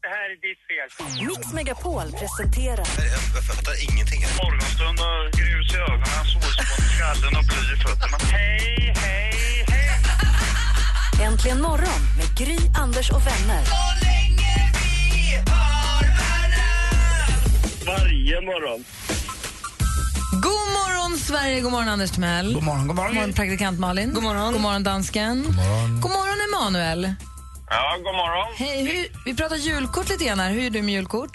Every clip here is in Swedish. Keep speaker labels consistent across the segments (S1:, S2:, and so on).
S1: det här är ditt fel.
S2: Mix Megapol presenterar
S3: Jag fattar ingenting. här.
S1: Morgonstund och grus i ögonen, solspån i skallen och bly i fötterna. Hej, hej, hej!
S2: Äntligen morgon med Gry, Anders och vänner.
S1: Varje morgon.
S4: God morgon, Sverige! God morgon, Anders Timell. God morgon, god morgon. praktikant Malin. God morgon, god morgon dansken. God morgon, god morgon Emanuel.
S1: Ja, god morgon.
S4: Hej, hur, vi pratar julkort lite grann här. Hur är du med julkort?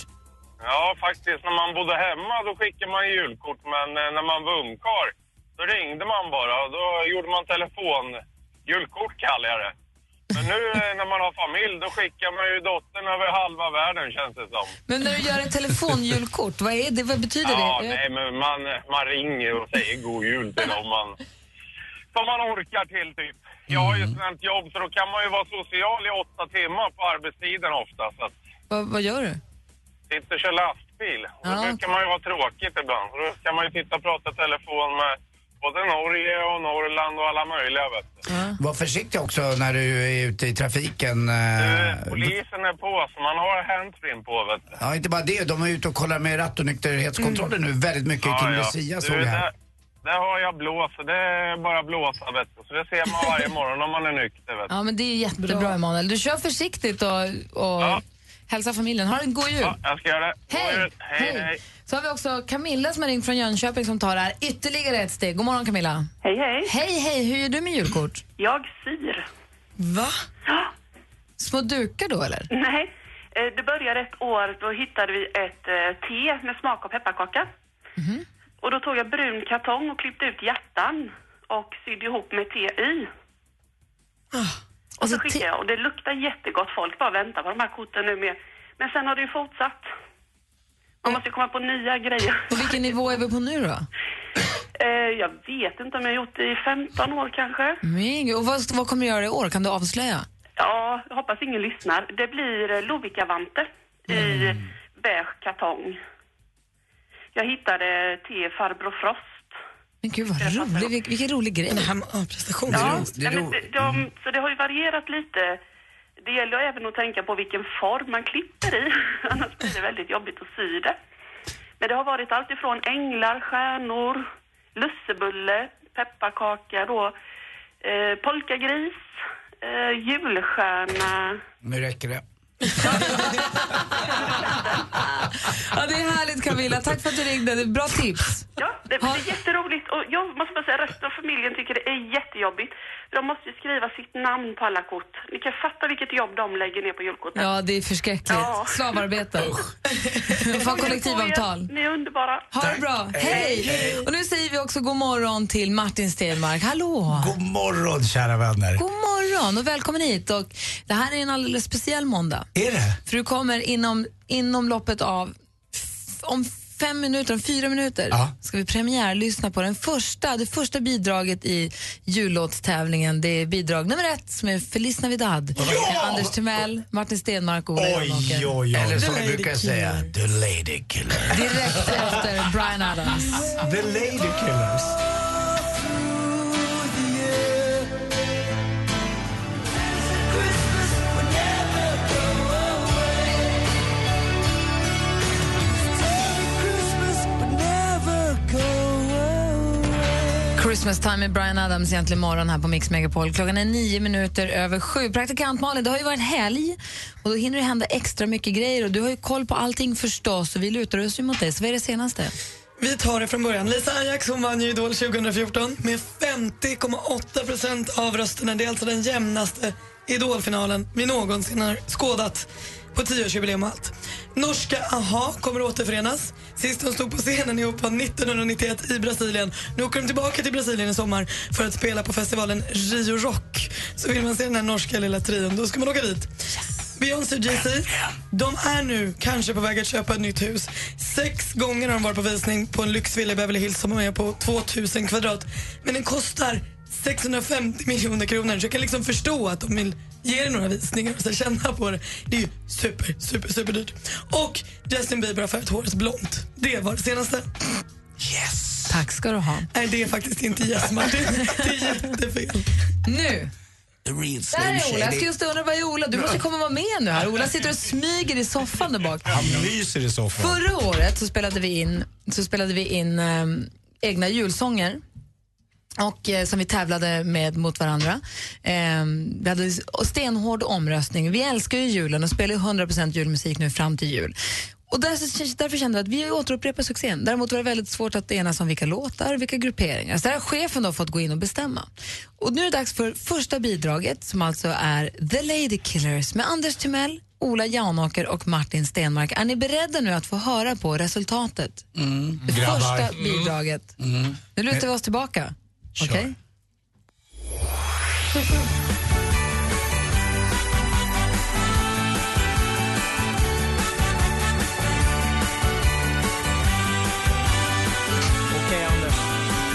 S1: Ja, faktiskt. När man bodde hemma då skickade man ju julkort, men eh, när man var ungkarl då ringde man bara och då gjorde man telefon. Julkort kallar jag det. Men nu eh, när man har familj då skickar man ju dottern över halva världen känns det som.
S4: Men när du gör ett telefonjulkort, vad, är det, vad betyder
S1: Ja,
S4: det? Eh,
S1: nej men man, man ringer och säger god jul till dem man, som man orkar till typ. Jag har
S4: Mm.
S1: ju ett sånt här jobb så då kan man ju vara social i åtta timmar på arbetstiden ofta. Så att
S4: Vad, vad gör du?
S1: sitter och kör lastbil. Och Då
S4: Ja.
S1: brukar man ju vara tråkigt ibland. Så Då kan man ju sitta och prata i telefon med både Norge och Norrland och alla möjliga vet du.
S5: Var försiktig också när du är ute i trafiken. eh,
S4: Äh,
S1: Eh, Polisen är på så man har handsfree på vet du.
S5: Ja, inte bara det. De är ute och kollar med rattonykterhetskontrollen nu väldigt mycket
S1: Mm. Ja,
S5: kring
S1: ja.
S5: Lucia
S1: Du,
S5: såg jag här.
S1: Där, där har jag blås och det är bara blåsa vet du. Så det ser man varje morgon om man är nykter vet du.
S4: Ja, men det är jättebra, Emanuel. Du kör försiktigt och, och
S1: Ja.
S4: hälsa familjen. Ha en god jul.
S1: Ja, jag ska göra det. God
S4: Hej!
S1: jul. Hej, hej.
S4: Så har vi också Camilla som har ringt från Jönköping som tar det här ytterligare ett steg. God morgon, Camilla.
S6: Hej, hej.
S4: Hej, hej! Hur gör du med julkort?
S6: Jag syr.
S4: Va? Små dukar då, eller?
S6: Nej, eh, det började ett år. Då hittade vi ett eh, te med smak av pepparkaka.
S1: Mhm.
S6: Och då tog jag brun kartong och klippte ut hjärtan och sydde ihop med te i. Och så
S4: Alltså,
S6: skickade jag. Och det luktar jättegott. Folk bara väntar på de här korten nu med. Men sen har det ju fortsatt.
S1: Eh.
S6: Man måste ju komma på nya grejer.
S4: På vilken nivå är vi på nu då?
S6: Eh, Jag vet inte om jag har gjort det i 15 år kanske.
S4: Men, gud, och vad, vad kommer du göra i år? Kan du avslöja?
S6: Ja, jag hoppas ingen lyssnar. Det blir eh, Lovikkavanter i beige kartong. Jag hittade till farbror Frost.
S4: Men gud vad rolig, vil, vilken rolig grej. Det här prestation.
S6: Ja,
S5: det är
S6: nej,
S5: ro-
S6: men de, de, så det har ju varierat lite. Det gäller ju även att tänka på vilken form man klipper i, annars blir det väldigt jobbigt att sy det. Men det har varit allt ifrån änglar, stjärnor, lussebulle, pepparkaka då, eh, polkagris, eh, julstjärna.
S5: Nu räcker det.
S4: Ja, det är härligt Camilla, tack för att du ringde. Det är Bra tips.
S6: Ja, det, det är jätteroligt. Och jag måste bara säga, resten av familjen tycker det är jättejobbigt. De måste ju skriva sitt namn på alla kort. Ni kan fatta vilket jobb de lägger ner på julkorten.
S4: Ja, det är förskräckligt.
S6: Ja.
S4: Slavarbete. Man får ha kollektivavtal.
S6: Ni är underbara.
S4: Ha det bra. Hej! Och nu säger vi också god morgon till Martin Stenmark. Hallå!
S5: God morgon kära vänner.
S4: God morgon och välkommen hit. Och det här är en alldeles speciell måndag.
S5: Är det?
S4: För du kommer inom, inom loppet av f- om fem minuter, om fyra minuter
S5: Ja.
S4: ska vi premiärlyssna på den första, det första bidraget i jullåtstävlingen. Det är bidrag nummer ett som är Feliz Navidad. Med Anders Timell, Martin Stenmark och Ola Janåker.
S5: Eller som vi brukar säga, the lady killer.
S4: Direkt efter Brian Adams.
S5: The lady killers.
S4: Christmas time med Brian Adams egentligen morgon här på Mix Megapol. Klockan är nio minuter över sju. Praktikant Malin, det har ju varit helg och då hinner det hända extra mycket grejer och du har ju koll på allting förstås och vi lutar oss ju mot dig. Så vad är det senaste?
S7: Vi tar det från början. Lisa Ajax hon vann ju Idol 2014 med 50,8 procent av rösterna. Det är alltså den jämnaste Idolfinalen vi någonsin har skådat på 10-årsjubileum och allt. Norska AHA kommer återförenas. Sist de stod på scenen ihop var 1991 i Brasilien. Nu åker de tillbaka till Brasilien i sommar för att spela på festivalen Rio Rock. Så vill man se den här norska lilla trion, då ska man åka dit. Beyoncé och Jay-Z, de är nu kanske på väg att köpa ett nytt hus. Sex gånger har de varit på visning på en lyxvilla i Beverly Hills som är på 2000 kvadrat. Men den kostar 650 miljoner kronor. Så jag kan liksom förstå att de vill ge er några visningar och så känna på det. Det är ju super, super, super dyrt. Och Justin Bieber har färgat håret blont. Det var det senaste.
S4: Tack ska du ha.
S7: Nej, det är faktiskt inte yes, Martin. Det är jättefel.
S4: Nu! Där är Ola. Jag ska just undra, vad är Ola? Du måste komma och vara med nu här. Ola sitter och smyger i soffan där bak.
S8: Han myser i soffan.
S4: Förra året så spelade vi in, så spelade vi in ehm, egna julsånger och, eh, som vi tävlade med mot varandra. Ehm, vi hade s- och stenhård omröstning. Vi älskar ju julen och spelar ju 100% julmusik nu fram till jul. Och därför, därför kände vi att vi återupprepar succén. Däremot var det väldigt svårt att enas om vilka låtar, vilka grupperingar. Så där har chefen då fått gå in och bestämma. Och nu är det dags för första bidraget som alltså är The Lady Killers med Anders Timell, Ola Janåker och Martin Stenmark. Är ni beredda nu att få höra på resultatet? Det
S8: Grabbar.
S4: första
S8: Mm.
S4: bidraget.
S8: Mm.
S4: Nu lutar vi oss tillbaka.
S8: Kör.
S4: Okej?
S9: Okej, Anders.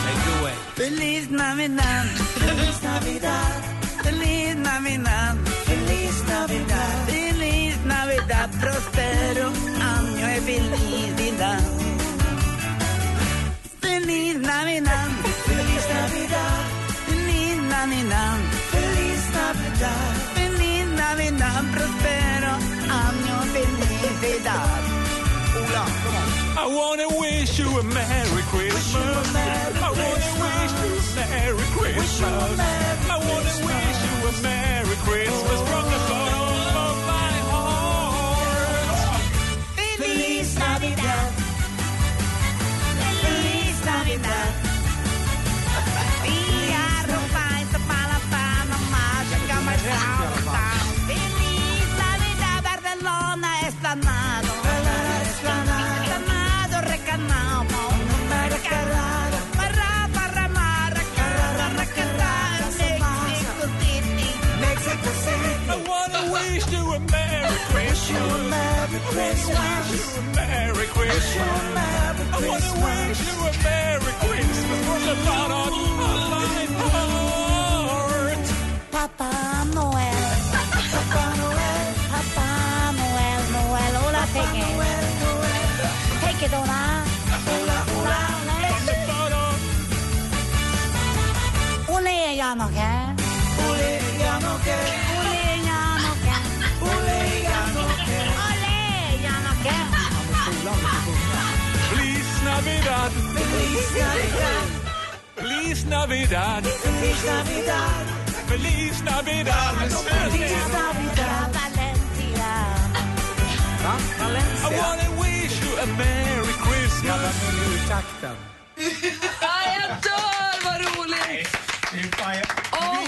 S9: Take it away. Feliz Navidad, Feliz Navidad, Feliz Navidad, Feliz Navidad, Feliz Navidad, Prospero año y felicidad. Feliz Navidad, Feliz Navidad, Feliz Navidad, Feliz Navidad, Feliz Navidad, Prospero año y felicidad. Hola, come on.
S8: I wanna wish you a merry Christmas. I wanna wish you a merry Christmas. I wanna wish you a merry Christmas from the bottom of my heart.
S9: Feliz Navidad. Feliz Navidad. Fierro paisa para Panamá, llegamos a Feliz Navidad, Barcelona esplanado. Esplanado, recanamo. Recanamo. Barra, barra, maracará, racará, Mexico City. Mexico City.
S8: I wanna wish you a merry Christmas. I wanna wish you a merry Christmas. I wanna wish you a merry Christmas from the bottom of my heart.
S9: Papá Noel. Papá Noel. Papá Noel, Noel. Hola, take it. Take it, hola. Hola, hola. Ole, Janoke. Ole, Janoke. Ole, Janoke. Ole, Janoke. Ole, Janoke.
S8: Feliz Navidad.
S9: Feliz Navidad.
S8: Feliz Navidad.
S9: Feliz Navidad.
S8: Feliz Navidad.
S9: Feliz Navidad. Valencia.
S8: I wanna wish you a merry Christmas.
S4: Ah, jag dör, vad roligt! Åh,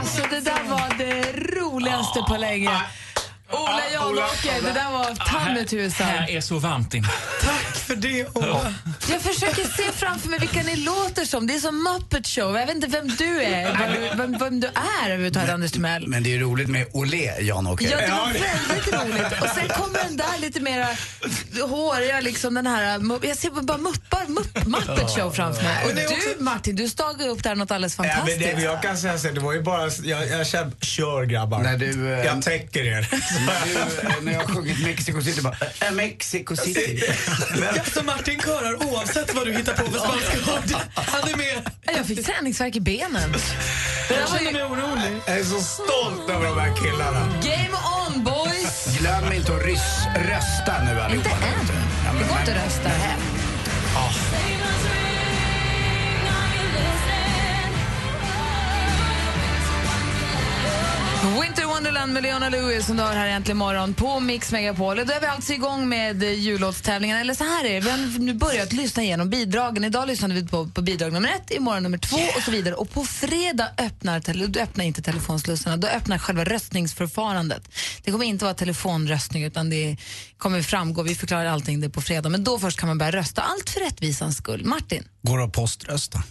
S4: alltså det där var det roligaste på länge. Ola
S10: Ah,
S4: Janåker,
S10: Ola.
S4: det där var ta mig tusan.
S10: Här är så varmt in.
S7: Tack för det, Ola.
S4: Jag försöker se framför mig vilka ni låter som. Det är som Muppet Show. Jag vet inte vem du är, vem, vem, vem du är överhuvudtaget, Anders Timell.
S5: Men det är roligt med Olé, Jan-Åke.
S4: Ja, det var väldigt roligt. Och sen kommer den där lite mera håriga, liksom den här... mu- Jag ser bara muppar, mupp, Muppet Show framför mig. Och
S11: Men det är
S4: du, Martin, du stagar upp där något alldeles
S11: Ja, men det,
S4: fantastiskt.
S11: jag kan säga så här, det var ju bara, jag, jag känner, kör grabbar.
S5: När du, eh,
S11: jag täcker er.
S5: När jag har sjungit Mexico City bara, äh, Mexico City.
S7: Alltså Martin körar oavsett vad du hittar på för spanska ord. Han är med.
S4: Jag fick träningsvärk i benen.
S7: Jag känner mig orolig.
S11: Jag är så stolt över de här killarna.
S4: Game on, boys!
S5: Glöm inte att ryss, rösta nu allihopa. Inte än.
S4: Det går inte att rösta. Winter Wonderland med Leona Lewis som du har här äntligen morgon på Mix Megapol. Och Då är vi alltså igång med eh, jullåtstävlingen. Eller så här är det, vi har nu börjat lyssna igenom bidragen. Idag lyssnade vi på, på bidrag nummer ett, imorgon nummer två och så vidare. Och på fredag öppnar, tele, då öppnar inte telefonslussarna, då öppnar själva röstningsförfarandet. Det kommer inte vara telefonröstning utan det kommer framgå, vi förklarar allting det på fredag. Men då först kan man börja rösta, allt för rättvisans skull. Martin?
S8: Går att poströsta.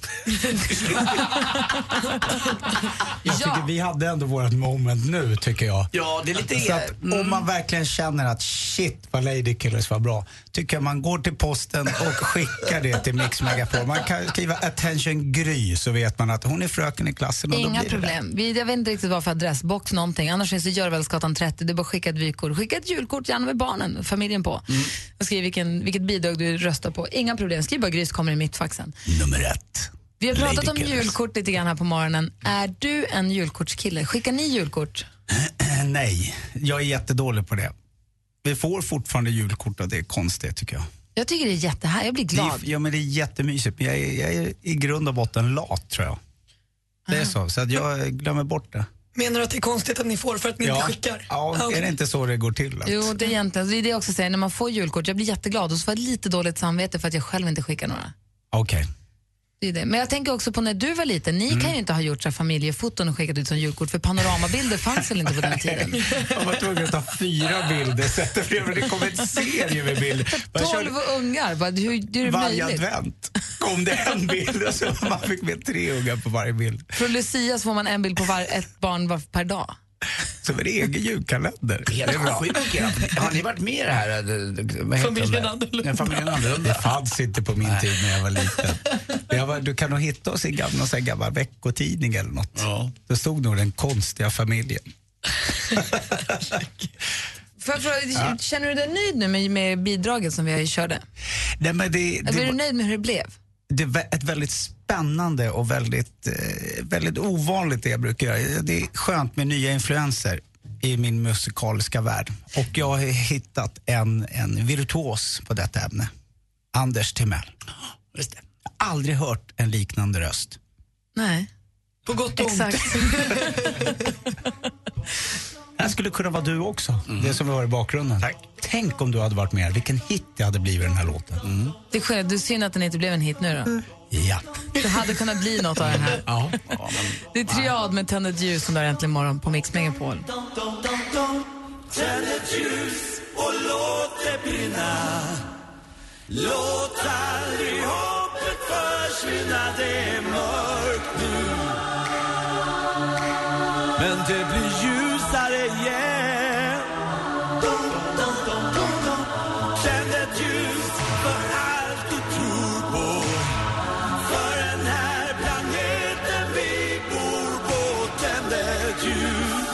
S11: Jag tycker vi hade ändå vårt moment nu, tycker
S10: tycker jag.
S9: Ja, det är lite... Mm.
S10: Så att om man verkligen känner att shit vad Lady Killers var bra, tycker jag man går till posten och skickar det till Mix Megapol. Man kan skriva attention Gry så vet man att hon är fröken i klassen och då
S4: Inga
S10: blir det
S4: problem. Vi, jag vet inte riktigt varför adressbox någonting. Annars finns det Görvälsgatan 30. Det är bara att skicka ett vykort. Skicka ett julkort gärna med barnen, familjen på.
S10: Mm.
S4: Och skriv vilken, vilket bidrag du röstar på. Inga problem. Skriv bara Grys kommer i mittfaxen.
S10: Nummer ett.
S4: Vi har pratat om
S10: Lady Killers.
S4: julkort lite grann här på morgonen. Är du en julkortskille? Skickar ni julkort?
S10: Eh, Nej, jag är jättedålig på det. Vi får fortfarande julkort och det är konstigt tycker jag.
S4: Jag tycker det är jättehärligt. Jag blir
S10: Det är,
S4: glad.
S10: ja, men det är jättemysigt, men jag är, jag är i grund och botten lat tror jag. Det är så, så att jag glömmer bort det.
S7: Menar du att det är konstigt att ni får för att ni
S10: ja.
S7: inte skickar?
S10: Ja,
S7: Ah, okej.
S10: är det inte så det går till? Att,
S4: Jo, det är egentligen det är det jag också säger. När man får julkort, jag blir jätteglad och så får jag lite dåligt samvete för att jag själv inte skickar några.
S10: Okej.
S4: Det är det. Men jag tänker också på när du var liten.
S10: Mm.
S4: Ni kan ju inte ha gjort så här familjefoton och skickat ut som julkort för panoramabilder fanns väl inte på den tiden?
S10: Jag var tvungen att ta fyra bilder, sätta framför Det kom en serie med bilder. Jag körde-
S4: Tolv ungar, bara, hur, hur är det
S10: varje
S4: möjligt?
S10: advent kom det en bild och så man fick med tre ungar på varje bild.
S4: Från Lucia så får man en bild på var, ett barn var, per dag.
S10: Som en egen julkalender.
S9: Helt
S10: Det är bra.
S9: sjukt. ja. Har ni varit med i det här? eh, vad heter
S10: Familjen
S9: de där?
S10: Annorlunda.
S9: Ja, familjen Annorlunda.
S10: Det fanns inte på min tid när jag var liten. Jag var, du kan nog hitta oss i gamla, någon sån här gammal veckotidning eller något. Då stod nog den konstiga familjen.
S4: Får jag fråga,
S10: Ja.
S4: Känner du dig nöjd nu med, med bidraget som vi körde?
S10: Nej, men det, det,
S4: Eller är du
S10: var-
S4: nöjd med hur det blev?
S10: det är vä- ett väldigt spännande och väldigt, eh, väldigt ovanligt det jag brukar göra. Det är skönt med nya influenser i min musikaliska värld. Och jag har hittat en, en virtuos på detta ämne. Anders Timell. Just det. Jag har aldrig hört en liknande röst.
S4: Nej.
S7: På gott
S4: och Exakt.
S10: Det här skulle kunna vara du också, det som vi har i bakgrunden. Tänk om du hade varit med vilken hit det hade blivit den här låten.
S4: Det är skönt. Det är synd att den inte blev en hit nu då.
S10: Ja.
S4: Det hade kunnat bli något av den här.
S10: ja.
S4: Det är Triad med Tänd ett ljus som du har äntligen morgon på Mix Megapol.
S8: Tänd ett ljus och låt det brinna Låt aldrig hoppet försvinna, det är mörkt nu Men det blir ljusare igen Dum, dum, dum, dum, dum. Tänd ett ljus för allt du tror på För den här planeten vi bor på Tänd ett ljus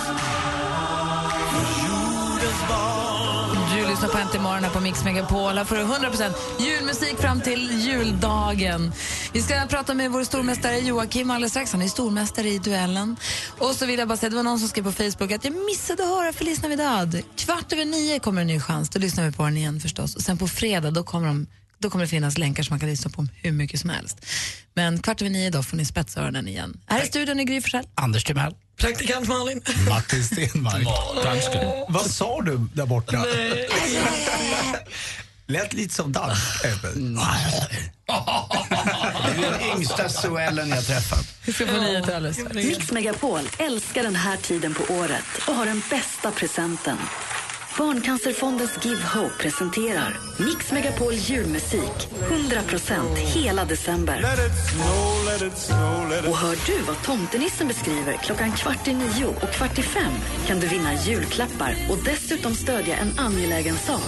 S8: för jordens barn
S4: Du lyssnar på Äntligen morgon här på Mix Megapol. Här får du 100% julmusik fram till juldagen. Vi ska prata med vår stormästare Joakim alldeles strax. Han är stormästare i duellen. Och så vill jag bara säga, det var någon som skrev på Facebook att jag missade att höra Feliz Navidad. Kvart över nio kommer en ny chans. Då lyssnar vi på den igen förstås. Och sen på fredag då kommer, de, då kommer det finnas länkar som man kan lyssna på hur mycket som helst. Men kvart över nio då får ni spetsa öronen igen. Här i studion är Gry Forssell.
S10: Anders Timell.
S7: Praktikant Malin.
S10: Martin Stenmark. Vad sa du där borta?
S7: Nej.
S10: Lät lite som dansk. även.
S9: Det är den yngsta Suellen jag träffat.
S4: Vi ska få nyheter alldeles
S2: Mix Megapol älskar den här tiden på året och har den bästa presenten. Barncancerfondens Give Hope presenterar Mix Megapol julmusik 100% hela december. Och hör du vad tomtenissen beskriver klockan kvart i nio och kvart i fem kan du vinna julklappar och dessutom stödja en angelägen sak.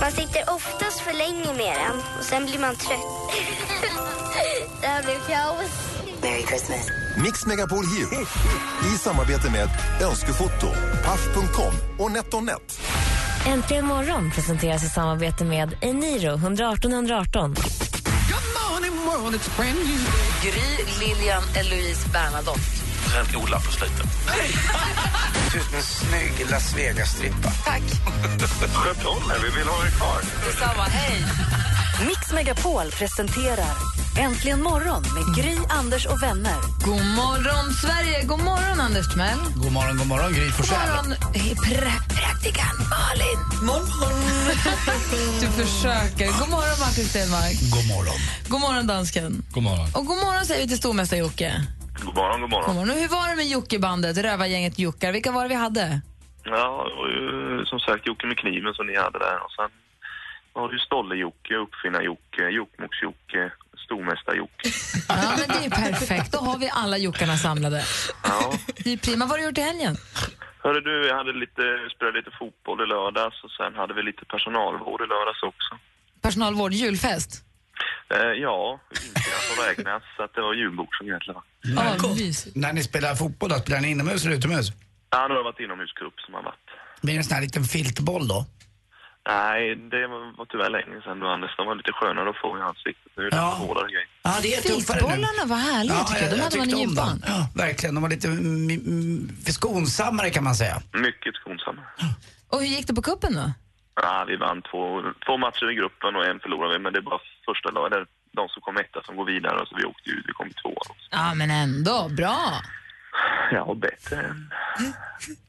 S12: Man sitter oftast för länge med den och sen blir man trött. Det här blir kaos.
S3: Merry Christmas. Mix Megapol Hue. I samarbete med Önskefoto, Paff.com och NetOnNet.
S13: Äntligen morgon presenteras i samarbete med Eniro 118 118.
S4: Gry, Lilian, Eloise, Bernadotte.
S9: Sen till Ola på slutet.
S10: ser ut som en snygg Las Vegas-strippa.
S4: Tack.
S14: Sköt om er, vi vill ha er kvar.
S4: Detsamma, hej!
S2: Mix Megapol presenterar Äntligen morgon med Gry, Anders och vänner.
S4: God morgon, Sverige! God morgon, Anders Timell!
S9: God morgon, god morgon, Gry
S4: God
S9: Forssell.
S4: morgon, eh, pra- praktikant Malin! du försöker. God morgon, Martin Stenmark.
S10: God morgon.
S4: God morgon, dansken.
S15: God morgon.
S4: Och god morgon säger vi till stormästare Jocke.
S15: God morgon, god
S4: God
S15: morgon.
S4: morgon. Och Hur var det med Jocke-bandet, rövargänget Jockar? Vilka var det vi hade?
S15: Ja, det var ju som sagt Jocke med kniven som ni hade där. Och sen var det ju Stolle-Jocke, Uppfinnar-Jokk, Jokkmokks-Jocke, stormästar-Jocke.
S4: Ja, men det är ju perfekt. Då har vi alla jockarna samlade.
S15: Ja.
S4: Det är prima. Vad har du gjort i helgen?
S15: Hörru du, jag hade lite, spelade lite fotboll i lördags och sen hade vi lite personalvård i lördags också.
S4: Personalvård, julfest?
S15: Eh, ja, inte jag får räknas så att det var julbord som gällde va?
S4: Ja,
S10: När ni spelar fotboll, då, spelar ni inomhus eller utomhus?
S15: Ja, nu har det varit inomhuscup som har varit.
S10: Blir det en sån här liten filtboll då?
S15: Nej, det var var tyvärr länge sedan då Anders. De var lite skönare att få i ansiktet. Nu är det
S10: Ja.
S15: lite hårdare grejer.
S10: Ja, det är tuffare nu.
S4: Filtbollarna var härliga tycker jag. De hade man i
S10: tyckte om
S4: gympan.
S10: dem. Ja, verkligen. De var lite mm, mm, skonsammare kan man säga.
S15: Mycket skonsamma.
S4: Och hur gick det på kuppen då?
S15: Ja, vi vann två, två matcher i gruppen och en förlorade vi, men det är bara första laget, eller de som kom etta som går vidare, så vi åkte ut, vi kom tvåa.
S4: Ja, men ändå. Bra.
S15: Ja, bättre än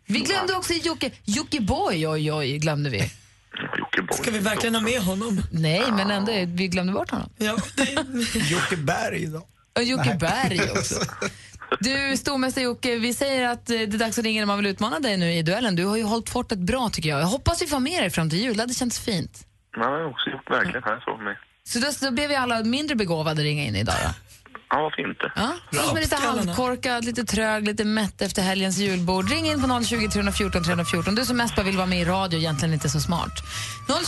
S4: Vi glömde också Jocke, Jocke Boy, oj, oj, glömde vi.
S7: Ska vi verkligen ha med honom?
S4: Nej, men ändå, vi glömde bort honom.
S7: Ja,
S11: Jocke Berg då?
S4: Och Jocke
S11: Nej.
S4: Berg också. Du, stormästare Jocke, vi säger att eh, det är dags att ringa när man vill utmana dig nu i duellen. Du har ju hållit fortet bra tycker jag. Jag hoppas vi får med dig fram till jul, det hade känts fint.
S15: Nej, jag har också gjort verkligen här för mig.
S4: Så då, då ber vi alla mindre begåvade ringa in idag då.
S15: Ja, varför inte?
S4: Ja, Du som är lite halvkorkad, lite trög, lite mätt efter helgens julbord. Ring in på 020 314 314. Du som mest bara vill vara med i radio, egentligen inte så smart.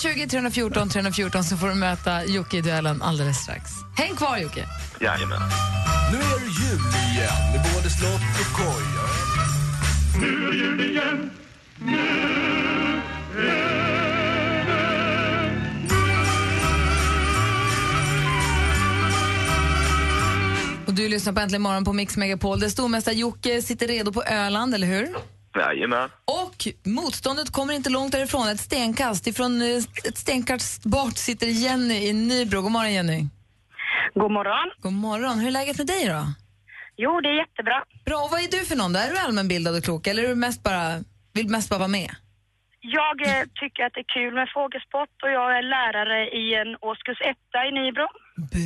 S4: 020 314 314 så får du möta Jocke i duellen alldeles strax. Häng kvar Jocke.
S15: Jajamän.
S8: Nu är det jul igen med både slott och koja. Nu är det jul igen.
S4: Och du lyssnar på Äntligen morgon på Mix Megapol där stormästare Jocke sitter redo på Öland, eller hur?
S15: Jajamän.
S4: Och motståndet kommer inte långt därifrån, ett stenkast. Ifrån eh, ett stenkast bort sitter Jenny i Nybro. God morgon Jenny.
S16: God morgon.
S4: God morgon. Hur är läget med dig då?
S16: Jo, det är jättebra.
S4: Bra, och vad är du för någon då? Är du allmänbildad och klok eller är du mest bara, vill mest bara vara med?
S16: Jag eh, tycker att det är kul med frågesport och jag är lärare i en årskurs etta i Nybro.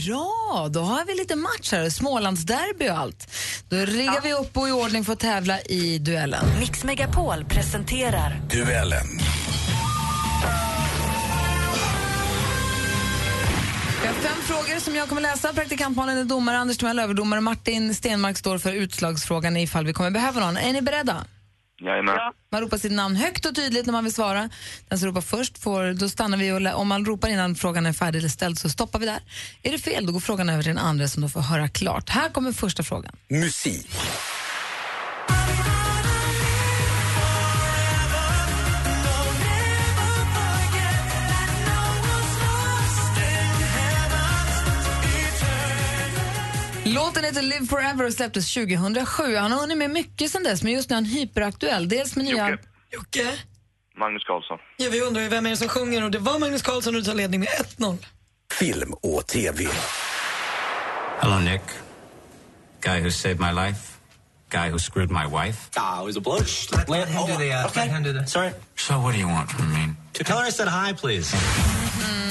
S4: Bra, då har vi lite match här. Smålandsderby och allt. Då riggar vi upp och i ordning för att tävla i duellen.
S2: Mix Megapol presenterar
S8: Duellen.
S4: Vi har fem frågor som jag kommer läsa. Praktikant Malin är domare, Anders Timell är överdomare, Martin Stenmark står för utslagsfrågan ifall vi kommer behöva någon. Är ni beredda?
S15: Jajamän.
S4: Man ropar sitt namn högt och tydligt när man vill svara. Den som ropar först får, då stannar vi och lä- om man ropar innan frågan är färdig eller ställd så stoppar vi där. Är det fel då går frågan över till den andra som då får höra klart. Här kommer första frågan.
S8: Musik.
S4: Låten heter Live Forever och släpptes 2007. Han har hunnit med mycket sedan dess men just nu är han hyperaktuell. Dels med nya...
S7: Jocke?
S15: Magnus Karlsson.
S7: Ja, vi undrar ju vem är det som sjunger och det var Magnus Karlsson och du tar ledning med 1-0.
S8: Film och tv.
S17: Hello, Nick. Guy who saved my life. Guy who screwed my wife.
S18: Ah, it was a blush. Let, let him do the. Uh, Let him do the. Sorry.
S17: So what do you want from me?
S18: Tell her I said hi, please.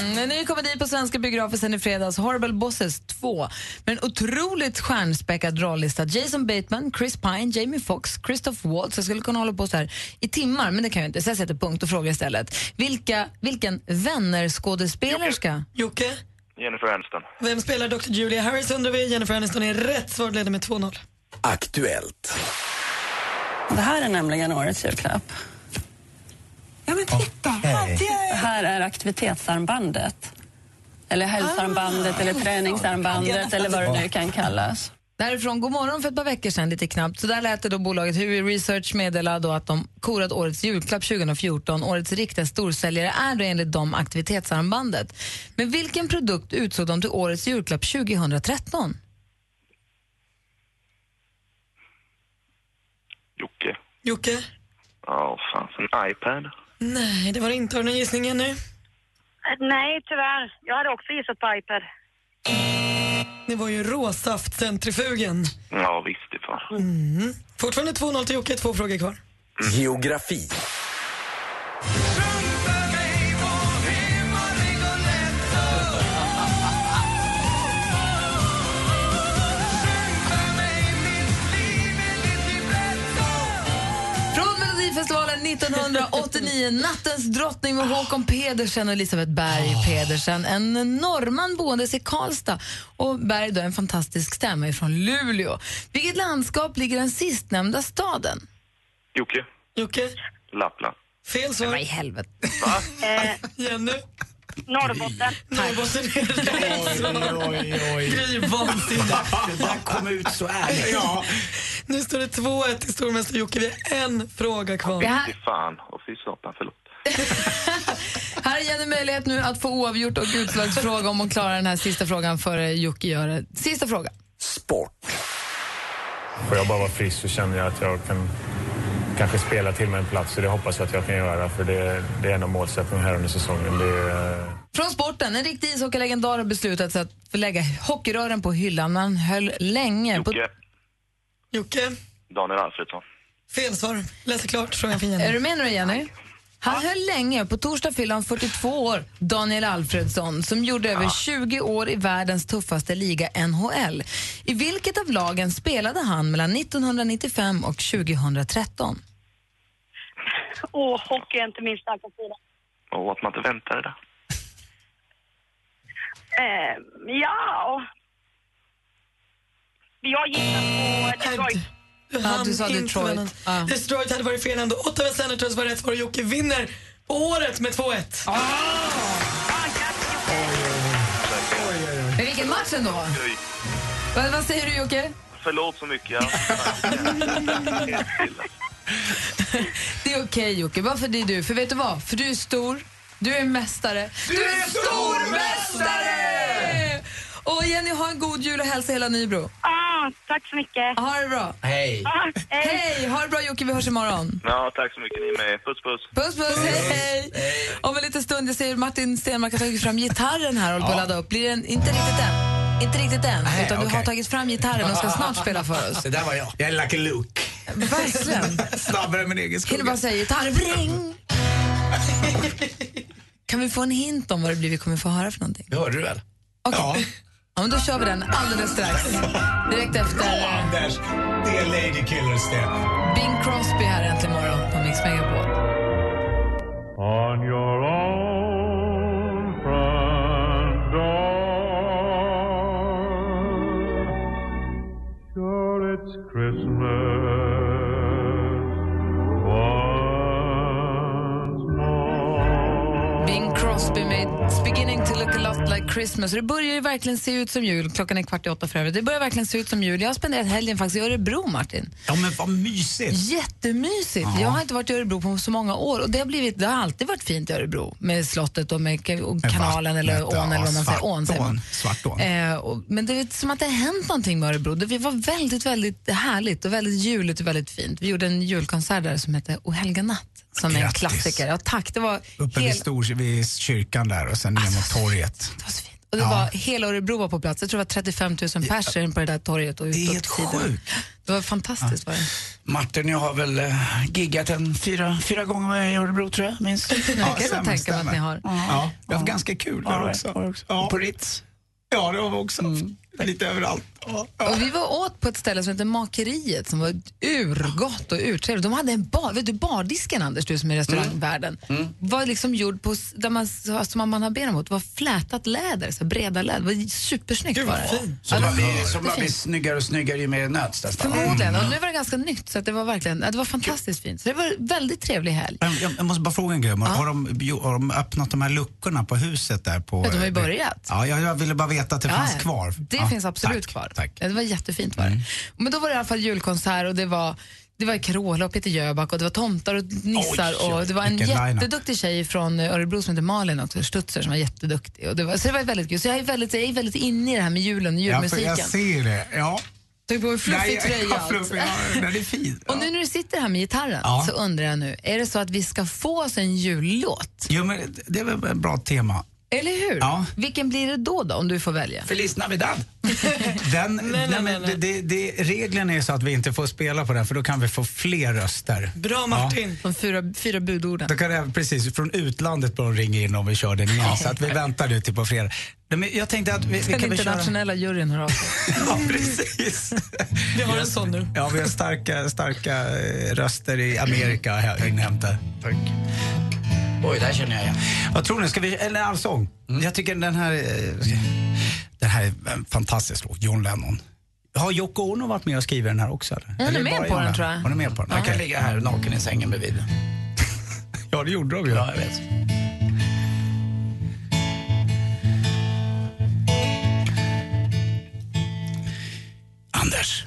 S4: Mm, en ny komedi på svenska biografer sen i fredags, Horrible Bosses 2. Med en otroligt stjärnspäckad rollista. Jason Bateman, Chris Pine, Jamie Foxx, Christoph Waltz. Jag skulle kunna hålla på så här i timmar, men det kan jag inte. Så jag sätter punkt och frågar istället. Vilka, vilken vänner-skådespelerska?
S7: Jocke?
S15: Jennifer Aniston.
S7: Vem spelar Dr Julia Harris undrar vi. Jennifer Aniston är rätt svar leder med 2-0.
S8: Aktuellt.
S19: Det här är nämligen årets julklapp. Ja, men titta! Det här är aktivitetsarmbandet. Eller hälsoarmbandet,
S7: Ah.
S19: eller träningsarmbandet, eller vad det nu kan kallas.
S4: Därifrån God morgon för ett par veckor sedan, lite knappt. Så där lät det då bolaget Hui Research meddela då att de korat årets julklapp 2014. Årets riktiga storsäljare är då enligt dem aktivitetsarmbandet. Men vilken produkt utsåg de till årets julklapp 2013?
S15: Jocke.
S7: Jocke?
S15: Ja, fan. En iPad.
S7: Nej, det var det inte. Har du någon gissning ännu?
S16: Eh, Nej, tyvärr. Jag hade också gissat på iPad.
S7: Det var ju råsaftcentrifugen.
S15: Ja, visst det fan.
S7: Mm. Fortfarande 2-0 till Jocke, två frågor kvar.
S8: Geografi.
S4: Från Melodifestivalen 1989 89, Nattens drottning med Håkon Pedersen och Elisabeth Berg Pedersen. En norrman boendes i Karlstad och Berg då en fantastisk stämma ifrån Luleå. Vilket landskap ligger den sistnämnda staden?
S15: Jocke?
S7: Jocke?
S15: Lappland.
S7: Fel svar.
S4: Vad i helvete?
S7: Jenny?
S16: Norrbotten.
S7: Norrbotten är
S8: Oj, oj, oj.
S7: Gry vansinne.
S8: Det där kom ut så ärligt.
S7: Ja. Nu står det 2-1 till stormästare Jocke. Vi har en fråga kvar.
S4: Det här-
S15: Fy fan och fy satan, förlåt.
S4: Här är en möjlighet nu att få oavgjort och utslagsfråga om hon klarar den här sista frågan före Jocke gör det. Sista frågan.
S20: Sport. Får jag bara vara frisk så känner jag att jag kan kanske spela till mig en plats. Så det hoppas jag att jag kan göra. För det, det är en av målsättningarna här under säsongen. Det är, eh,
S4: Från sporten. En riktig ishockeylegendar har beslutat sig att lägga hockeyrören på hyllan. Man höll länge på...
S15: Jocke?
S7: Jocke?
S15: Daniel Alfredsson.
S7: Fel svar. Läser klart frågan för Jenny.
S4: Är du med nu, Jenny? Han höll länge. På torsdag fyllde han 42 år, Daniel Alfredsson som gjorde över 20 år i världens tuffaste liga, NHL. I vilket av lagen spelade han mellan 1995 och 2013?
S16: Åh, hockey är inte min starka sida.
S15: Och att man inte väntade där.
S16: Eh, ja... Jag gissar på Detroit.
S4: Ja, du sa
S7: Inte
S4: Detroit.
S7: vännen. Detroit hade varit fel ändå. Ottawa Senators var rätt svar och Jocke vinner på året med 2-1.
S4: Men vilken match ändå! Vad, vad säger du, Jocke?
S15: Förlåt så mycket. Ja.
S4: Det är okej, Jocke. Varför det är du? För vet du vad? För du är stor, du är mästare, du är stormästare! Och Jenny, ha en god jul och hälsa hela Nybro.
S16: Ah, tack så mycket.
S4: Ha det bra.
S15: Hej.
S16: Ah,
S4: hej. Ha det bra, Jocke. Vi hörs imorgon.
S15: Ja, tack så mycket. Ni är med. Puss, puss.
S4: Puss, puss. Hej, hej. Om en liten stund, jag ser Martin Stenmark har tagit fram gitarren här och håller på att ladda upp. Blir den inte riktigt än? Inte riktigt än,
S10: Nej,
S4: utan du
S10: okej.
S4: har tagit fram gitarren och ska snart spela för oss.
S10: Det där var jag. Jag är Lucky Luke.
S4: Verkligen.
S10: Snabbare än min egen
S4: Hinner
S10: skugga.
S4: bara säga gitarr. Bring! Kan vi få en hint om vad det blir vi kommer få höra för någonting?
S10: Det hörde du väl?
S4: Okej. Ja, men då kör vi den alldeles strax. Direkt efter
S10: Bra, Anders! Det är Lady Killers det.
S4: Bing Crosby här äntligen morgon på Mix Megapol.
S8: On your own front door. Sure, it's Christmas once more.
S4: Bing Crosby med It's beginning to look a lot like Christmas. Det börjar ju verkligen se ut som jul. Klockan är kvart i åtta för övrigt. Det börjar verkligen se ut som jul. Jag har spenderat helgen faktiskt i Örebro, Martin.
S10: Ja, men vad mysigt.
S4: Jättemysigt. Jag har inte varit i Örebro på så många år och det har, blivit, det har alltid varit fint i Örebro med slottet och med ka- och kanalen eller ån
S10: Vattnet,
S4: eller vad man säger. Ån, säger man.
S10: Svartån.
S4: Eh, och, men det är som att det har hänt någonting med Örebro. Det var väldigt, väldigt härligt och väldigt juligt och väldigt fint. Vi gjorde en julkonsert där som hette O helga natt som är en
S10: Grattis.
S4: klassiker. Ja, tack. Det var
S10: Uppe vid,
S4: hel-
S10: stor, vid kyrkan där och sen ner mot
S4: Alltså.
S10: torget.
S4: Och det
S10: Ja.
S4: var, hela Örebro var på plats. Jag tror det var 35 000 personer på det där torget. Och det är helt sjukt. Det var fantastiskt. Var det.
S10: Martin, jag har väl eh, giggat en fyra, fyra gånger var jag i Örebro tror jag, minst.
S4: Det kan jag
S10: stämmer,
S4: tänka mig
S10: stämmer.
S4: att ni har.
S10: Ja, vi har haft ganska kul där också. Ja. På Ritz. Mm. Ja, det har vi också. Lite överallt. Ja.
S4: Och vi var åt på ett ställe som heter Makeriet som var urgott och urtrevligt. De hade en bar, vet du bardisken Anders, du som är i restaurangvärlden, var liksom gjord på, s- där man, alltså, som man har ben emot, var flätat läder, så här breda läder. Det var supersnyggt var det.
S10: Som
S4: Ja,
S10: bara
S4: det var
S10: blir, som bara blir
S4: jättefint.
S10: snyggare och snyggare ju mer det nöts nästan.
S4: Förmodligen, och nu var det ganska nytt så att det var verkligen, ja, det var fantastiskt fint. Så det var en väldigt trevlig helg.
S10: Men Jag, jag måste bara fråga en grej. Har, de, jo, har de öppnat de här luckorna på huset där? På,
S4: Ja, de har ju börjat.
S10: Ja, jag, jag ville bara veta att det
S4: Ja,
S10: fanns
S4: ja.
S10: kvar.
S4: Det
S10: ja, Mm.
S4: finns absolut kvar. Ja, Det var jättefint var det. Men då var det i alla fall julkonsert och det var det var Carola och Peter Jöback och det var tomtar och nissar
S10: Oj,
S4: och det var en
S10: vilken lineup.
S4: jätteduktig tjej från eh, Örebro som heter Malin också, Stutzer som var jätteduktig. Och det var, så det var väldigt kul. Så jag är väldigt, jag är väldigt inne i det här med julen och
S10: Ja, för
S4: julmusiken.
S10: jag ser det. Ja.
S4: Tänk på en
S10: Nej,
S4: fluffig
S10: ja,
S4: tröja. alltså.
S10: fluffig, ja, den är fin.
S4: Och nu när du sitter här med gitarren
S10: Ja.
S4: så undrar jag nu, är det så att vi ska få oss en jullåt?
S10: Jo, men det- det är väl ett bra tema.
S4: Eller hur? Vilken blir det då, då om du får välja?
S11: Feliz Navidad! Den, nej, men det, det, det, reglerna är så att vi inte får spela på den för då kan vi få fler röster.
S7: Bra
S11: Ja.
S7: Martin!
S4: De fyra, fyra budorden.
S11: Då kan det, precis, från utlandet bör de ringa in om vi kör den igen. Så att vi väntar nu till på fredag. Nej, men Jag tänkte att vi, vi
S4: Ska den
S11: kan väl köra...
S4: internationella juryn höra av sig?
S11: Ja, precis.
S7: Vi har en sån nu.
S11: Ja, vi har starka, starka eh, röster i Amerika här inhämtar. Tack. Oj, där känner jag igen. Vad tror ni? Ska vi, eller allsång? Jag tycker den här... eh, ska- Den här är en fantastisk låt, John Lennon. Har Yoko Ono varit med och skrivit den här också? Eller?
S4: Hon är
S11: Eller
S4: med
S11: bara
S4: på
S11: jag?
S4: den, tror jag.
S11: Hon är med på den.
S4: Ja.
S11: Okej.
S5: ligga här naken i sängen bredvid.
S11: Ja, det gjorde de ju.
S5: Ja, jag vet.
S11: Anders,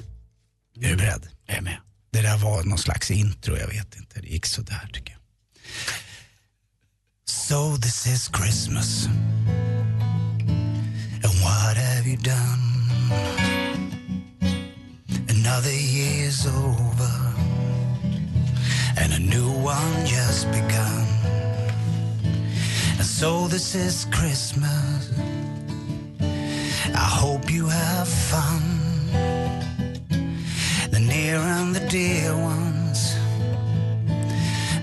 S11: är du beredd? Jag är med. Det där var någon slags intro, jag vet inte. Det gick så där tycker jag. So this is Christmas And what have you done? Another year's over And a new one just begun And so this is Christmas I hope you have fun the near and the dear ones,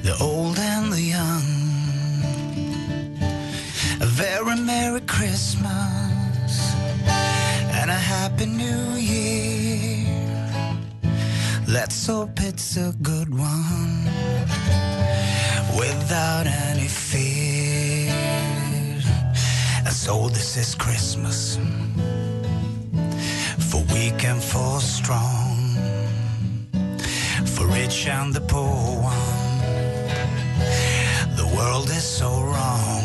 S11: the old and the young. A very Merry Christmas and a Happy New Year. Let's hope it's a good one without any fear. And so this is Christmas for weak and for strong, for rich and the poor one. The world is so wrong,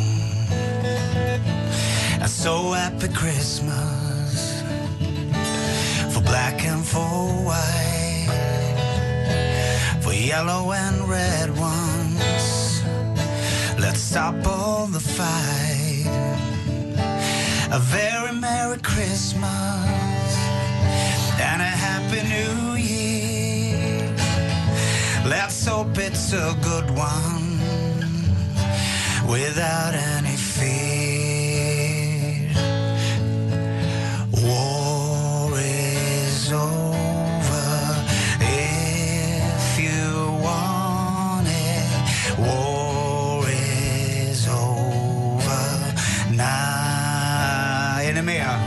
S11: and so happy Christmas for black and for white, for yellow and red ones. Let's stop all the fight. A very Merry Christmas and a Happy New Year. Let's hope it's a good one without any fear. War is over if you want it. War is over now. Är ni med?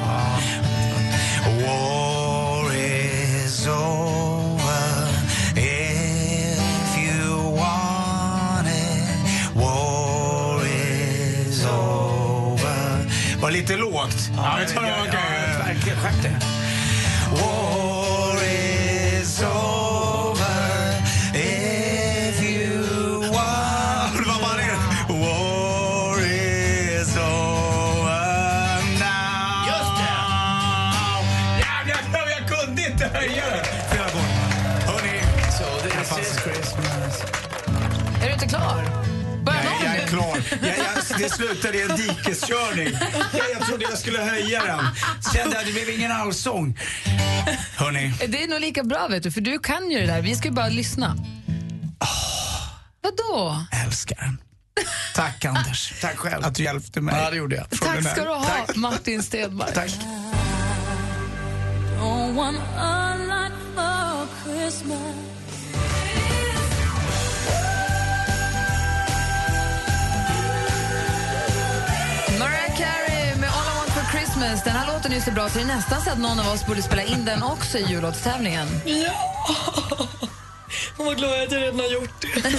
S11: War is over if you want it. War is over. Var lite lågt. Ja, vi tar det. Verkligen, skärp dig. War is over if you want. Det var bara det. War is over now. Just det. Jävlar, jag, jag kunde inte höja det. Fyra gånger. Hörni, so this is Christmas.
S4: Är du inte klar? Börja
S11: Jag, jag är
S4: om.
S11: klar. Jag, jag, det slutade i en dikeskörning. Jag, jag trodde jag skulle höja den. Kände att det blev ingen allsång. Hörni.
S4: Det är nog lika bra, vet du, för du kan ju det där. Vi ska ju bara lyssna. Vadå?
S11: Älskar den. Tack Anders. Tack själv. Att du hjälpte mig. Ja, det gjorde jag.
S4: Tack ska du ha, Martin Stenmarck. Tack.
S8: Don't want a lot Oh, for Christmas.
S4: Mariah Carey med All I Want For Christmas. Den här låten är ju så bra så det är nästan så att någon av oss borde spela in den också i jullåtstävlingen.
S7: Ja! Hon var glad att jag redan har gjort det.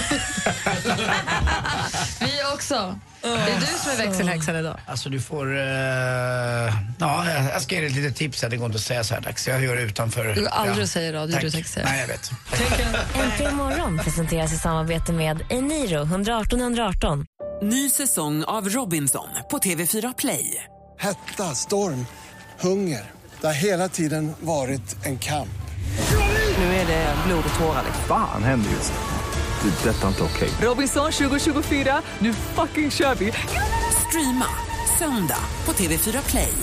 S4: Vi också. Det är du som är växelhäxan idag.
S5: Alltså du får... eh, ja, jag- jag ska ge dig ett litet tips här. Det går inte att säga så här dags. Jag gör det utanför.
S4: Du går aldrig
S5: ja.
S4: att säga radio,
S5: Tack.
S4: du tänker säga.
S5: Nej, jag vet.
S13: Äntligen morgon presenteras i samarbete med Eniro 118 118.
S21: Ny säsong av Robinson på TV4 Play.
S22: Hetta, storm, hunger. Det har hela tiden varit en kamp.
S21: Nu är det blod och tårar.
S23: Fan händer just nu. Det. är Detta är inte okej.
S21: Robinson 2024, nu fucking kör vi! Streama söndag på TV4 Play.